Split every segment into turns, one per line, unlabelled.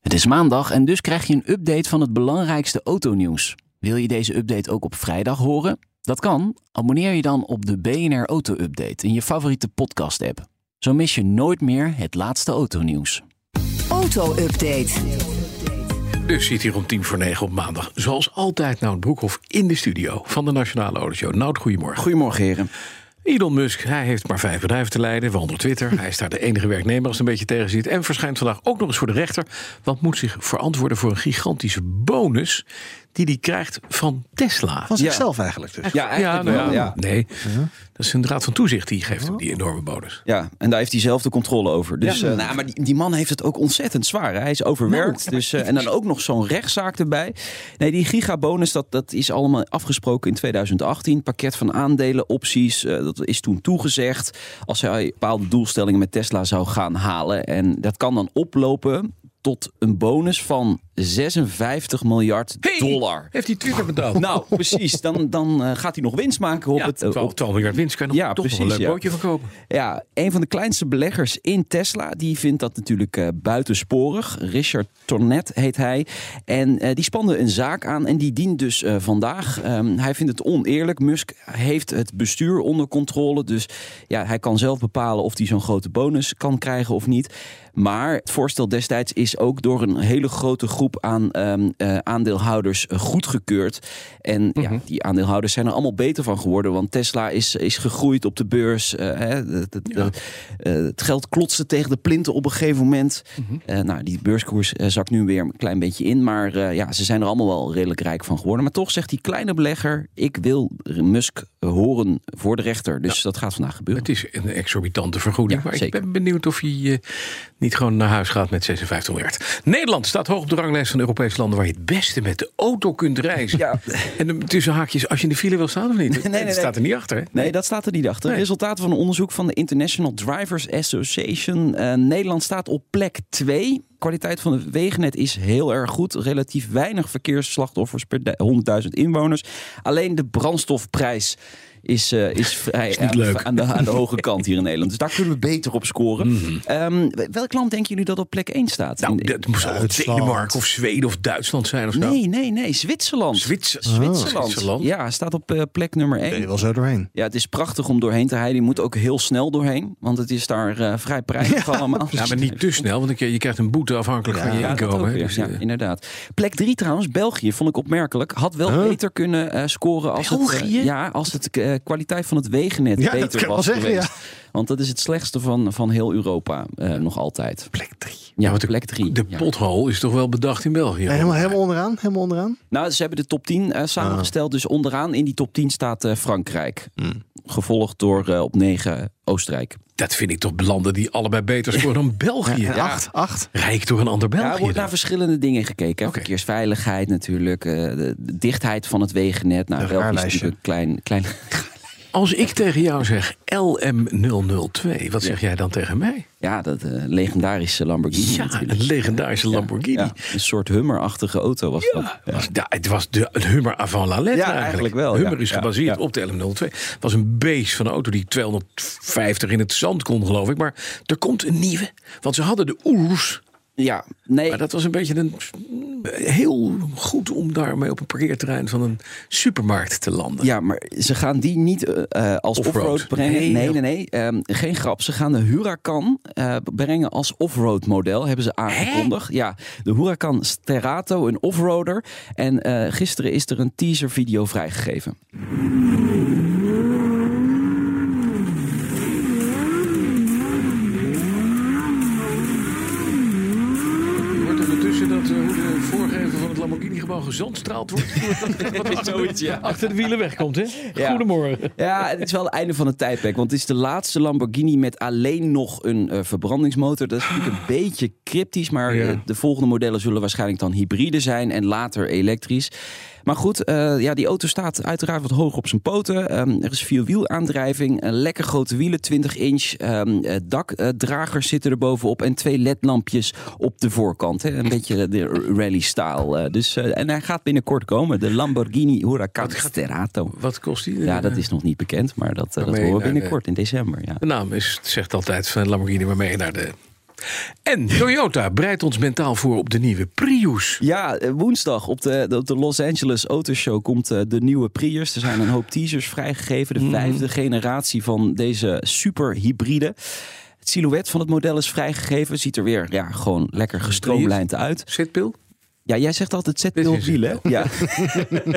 Het is maandag en dus krijg je een update van het belangrijkste autonieuws. Wil je deze update ook op vrijdag horen? Dat kan. Abonneer je dan op de BNR Auto Update in je favoriete podcast-app. Zo mis je nooit meer het laatste autonieuws.
Auto-update.
Dus zit hier om tien voor negen op maandag, zoals altijd, Nout Broekhoff in de studio van de Nationale Autoshow. Nout, goedemorgen.
Goedemorgen, heren.
Elon Musk, hij heeft maar vijf bedrijven te leiden, waaronder Twitter. Hij is daar de enige werknemer als het een beetje tegen zit. En verschijnt vandaag ook nog eens voor de rechter. Want moet zich verantwoorden voor een gigantische bonus die hij krijgt van Tesla.
Van zichzelf ja. eigenlijk dus.
Ja, eigenlijk ja, nou, wel. Ja. Nee, dat is een raad van toezicht die geeft hem die enorme bonus.
Ja, en daar heeft hij zelf de controle over. Dus, uh, nou, maar die, die, man heeft het ook ontzettend zwaar. Hè? Hij is overwerkt. No. Dus, uh, en dan ook nog zo'n rechtszaak erbij. Nee, die gigabonus, dat, dat is allemaal afgesproken in 2018. Pakket van aandelen, opties. Uh, dat is toen toegezegd als hij bepaalde doelstellingen met Tesla zou gaan halen. En dat kan dan oplopen tot een bonus van 56 miljard dollar. Hey,
heeft hij Twitter betaald?
Nou, precies. Dan, dan uh, gaat hij nog winst maken op
ja,
het...
12, 12 miljard winst kan je nog ja, toch precies, een leuk ja. bootje van kopen.
Ja, een van de kleinste beleggers in Tesla... die vindt dat natuurlijk uh, buitensporig. Richard Tornet heet hij. En uh, die spande een zaak aan en die dient dus vandaag. Um, hij vindt het oneerlijk. Musk heeft het bestuur onder controle. Dus ja, hij kan zelf bepalen of hij zo'n grote bonus kan krijgen of niet. Maar het voorstel destijds is ook door een hele grote groep aan um, uh, aandeelhouders goedgekeurd. En mm -hmm. ja, die aandeelhouders zijn er allemaal beter van geworden. Want Tesla is, is gegroeid op de beurs. Uh, hè, de, de, ja. de, uh, het geld klotste tegen de plinten op een gegeven moment. Mm -hmm. nou, die beurskoers zakt nu weer een klein beetje in. Maar eh, ja, ze zijn er allemaal wel redelijk rijk van geworden. Maar toch zegt die kleine belegger: ik wil Musk horen voor de rechter. Dus nou, dat gaat vandaag gebeuren.
Het is een exorbitante vergoeding. Ja, maar zeker. ik ben benieuwd of hij eh, niet gewoon naar huis gaat met 56 miljard. Nederland staat hoog op de ranglijst van Europese landen waar je het beste met de auto kunt reizen. Ja. En tussen haakjes, als je in de file wil staan of niet? Nee, nee, dat nee, staat er niet achter. Hè?
Nee, dat staat er niet achter. Resultaten van een onderzoek van de International Drivers Association. Uh, Nederland staat op plek 2 kwaliteit van het wegennet is heel erg goed. Relatief weinig verkeersslachtoffers per 100.000 inwoners. Alleen de brandstofprijs is, uh, is vrij
is niet leuk.
Aan, de, aan de hoge kant hier in Nederland. Dus daar kunnen we beter op scoren. Mm -hmm. um, welk land denken jullie dat op plek 1 staat?
Mhm. Nou, dat moest al Denemarken of Zweden of Duitsland zijn of zo.
Nee, nee, nee. Zwitserland.
Zwitser
oh. Zwitserland. Zwitserland. Ja, staat op uh, plek nummer 1.
Ben je wel zo doorheen.
Ja, het is prachtig om doorheen te rijden. Je moet ook heel snel doorheen, want het is daar uh, vrij prijzig ja, allemaal.
Ja, maar niet te snel, want je, je krijgt een boete afhankelijk ja, van je inkomen. Dus, eh,
Ja, ja, inderdaad. Plek 3 trouwens, België, vond ik opmerkelijk. Had wel huh? beter kunnen uh, scoren als
België?
het, uh, ja, als het uh, kwaliteit van het wegennet ja, beter was zeggen, geweest. Want dat is het slechtste van, van heel Europa eh, nog altijd.
Plek 3.
Ja, want de, plek 3.
De pothol is toch wel bedacht in België?
Helemaal, helemaal, onderaan, helemaal onderaan?
Nou, ze hebben de top 10 samengesteld. Dus onderaan in die top 10 staat eh, Frankrijk. Hmm. Gevolgd door eh, op 9 Oostenrijk.
Dat vind ik toch landen die allebei beter scoren dan België.
Ja, acht, acht.
Rijk door een ander België. Ja, nou,
er wordt naar verschillende dingen gekeken. Okay. Verkeersveiligheid natuurlijk. eh, De dichtheid van het wegennet. Nou, België is een klein... klein...
Als ik tegen jou zeg LM002, wat zeg ja. jij dan tegen mij?
Ja, dat uh, legendarische Lamborghini.
Ja,
natuurlijk.
een legendarische ja, Lamborghini. Ja,
een soort Hummer-achtige auto was dat.
Ja, het was de, het Hummer avant la lettre
eigenlijk. eigenlijk. wel.
Hummer is gebaseerd op de LM02. Het was een beest van een auto die 250 in het zand kon, geloof ik. Maar er komt een nieuwe. Want ze hadden de Oers
ja, nee.
Maar dat was een beetje een, mm, heel goed om daarmee op een parkeerterrein van een supermarkt te landen.
Ja, maar ze gaan die niet uh, als offroad off brengen. Nee, nee, nee. nee. Um, geen grap. Ze gaan de Huracan uh, brengen als offroad model. Hebben ze aangekondigd. Hè? Ja, de Huracan Sterato, een offroader. En uh, gisteren is er een teaser video vrijgegeven.
eh, Lamborghini gewoon gezandstraald wordt. Wat is
Zoiets, ja.
Achter de wielen wegkomt, hè?
Ja.
Goedemorgen.
Ja, het is wel het einde van het tijdperk. Want het is de laatste Lamborghini met alleen nog een eh, verbrandingsmotor. Dat is natuurlijk een beetje cryptisch. Maar
Ja.
eh, de volgende modellen zullen waarschijnlijk dan hybride zijn. En later elektrisch. Maar goed, eh, ja, die auto staat uiteraard wat hoog op zijn poten. Ehm, er is vierwielaandrijving. Een lekker grote wielen, 20 inch. ehm, eh, dakdragers zitten er bovenop. En twee ledlampjes op de voorkant. Hè. Een beetje de rally-style. eh, dus, eh, en hij gaat binnenkort komen. De Lamborghini Huracan Sterato.
Wat kost die?
Ja, dat is nog niet bekend, maar dat, eh, dat
Waarmee
horen we
naar de-
binnenkort in december. Ja.
De naam is, zegt altijd van Lamborghini, maar mee naar de... En Toyota bereidt ons mentaal voor op de nieuwe Prius.
Ja, eh, woensdag op de, de- op de Los Angeles Auto Show komt eh, de nieuwe Prius. Er zijn een hoop teasers vrijgegeven. De vijfde generatie van deze superhybride. Het silhouet van het model is vrijgegeven. Ziet er weer ja, gewoon lekker gestroomlijnd uit.
Zitpil?
Ja, jij zegt altijd
Dit
zetpil
is
op wielen. Ja.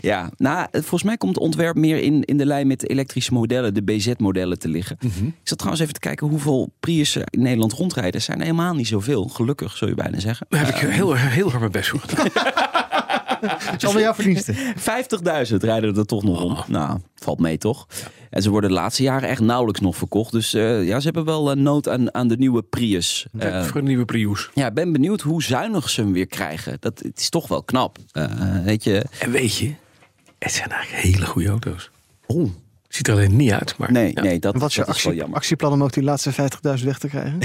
ja, nou, eh, volgens mij komt het ontwerp meer in, in de lijn met de elektrische modellen, de BZ-modellen te liggen. Ik zat trouwens even te kijken hoeveel Priussen in Nederland rondrijden. Er zijn er helemaal niet zoveel, gelukkig zou je bijna zeggen.
Daar heb ik heel, heel hard mijn best voor gedaan.
Het is allemaal jouw verdiensten.
50.000 rijden er toch nog om. Nou, valt mee toch? En ze worden de laatste jaren echt nauwelijks nog verkocht. Dus eh, ja, ze hebben wel eh, nood aan, aan de nieuwe Prius. Eh,
voor een nieuwe Prius.
ja, ik ben benieuwd hoe zuinig ze hem weer krijgen. Dat het is toch wel knap. Eh, weet je,
En weet je, het zijn eigenlijk hele goede auto's.
Oeh.
Ziet er alleen niet uit, maar...
Nee,
Ja,
nee, dat,
En wat is je
dat is wel
actie,
jammer.
actieplan om ook die laatste 50.000 weg te krijgen?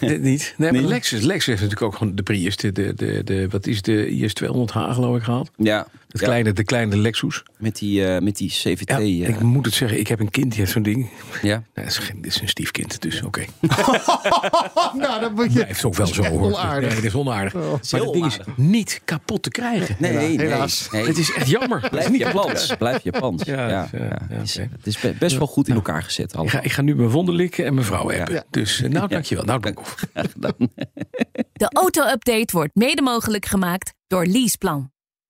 dit niet. Nee, maar
Nee.
Lexus, Lexus heeft natuurlijk ook gewoon de Prius. De, de, de, de- wat is de IS200H geloof ik gehaald?
Ja,
Het
ja,
kleine, de kleine Lexus.
met, die, eh, met die CVT.
Ja,
eh, Ja,
Ik moet het zeggen, ik heb een kind, die heeft zo'n ding.
ja.
Nee, dat is geen- dit is een stiefkind, dus oké.
nou, dat moet
Hij heeft ook wel zo hoor.
Onaardig.
Nee, dat is onaardig. maar het
heel
ding is niet kapot te krijgen.
Nee, nee,
helaas.
nee.
Het is echt jammer. Het is
Blijf
niet
Japans. Blijf Japans. Ja,
Ja,
ja,
dus, eh, ja,
Het is-
oké.
Het is be- best wel goed in elkaar gezet.
Ik
allemaal.
ga, ik ga nu mijn wonden likken en mijn vrouw hebben.
Ja.
Dus eh, nou, dankjewel. Nou, dank.
De auto-update wordt mede mogelijk gemaakt door Leaseplan.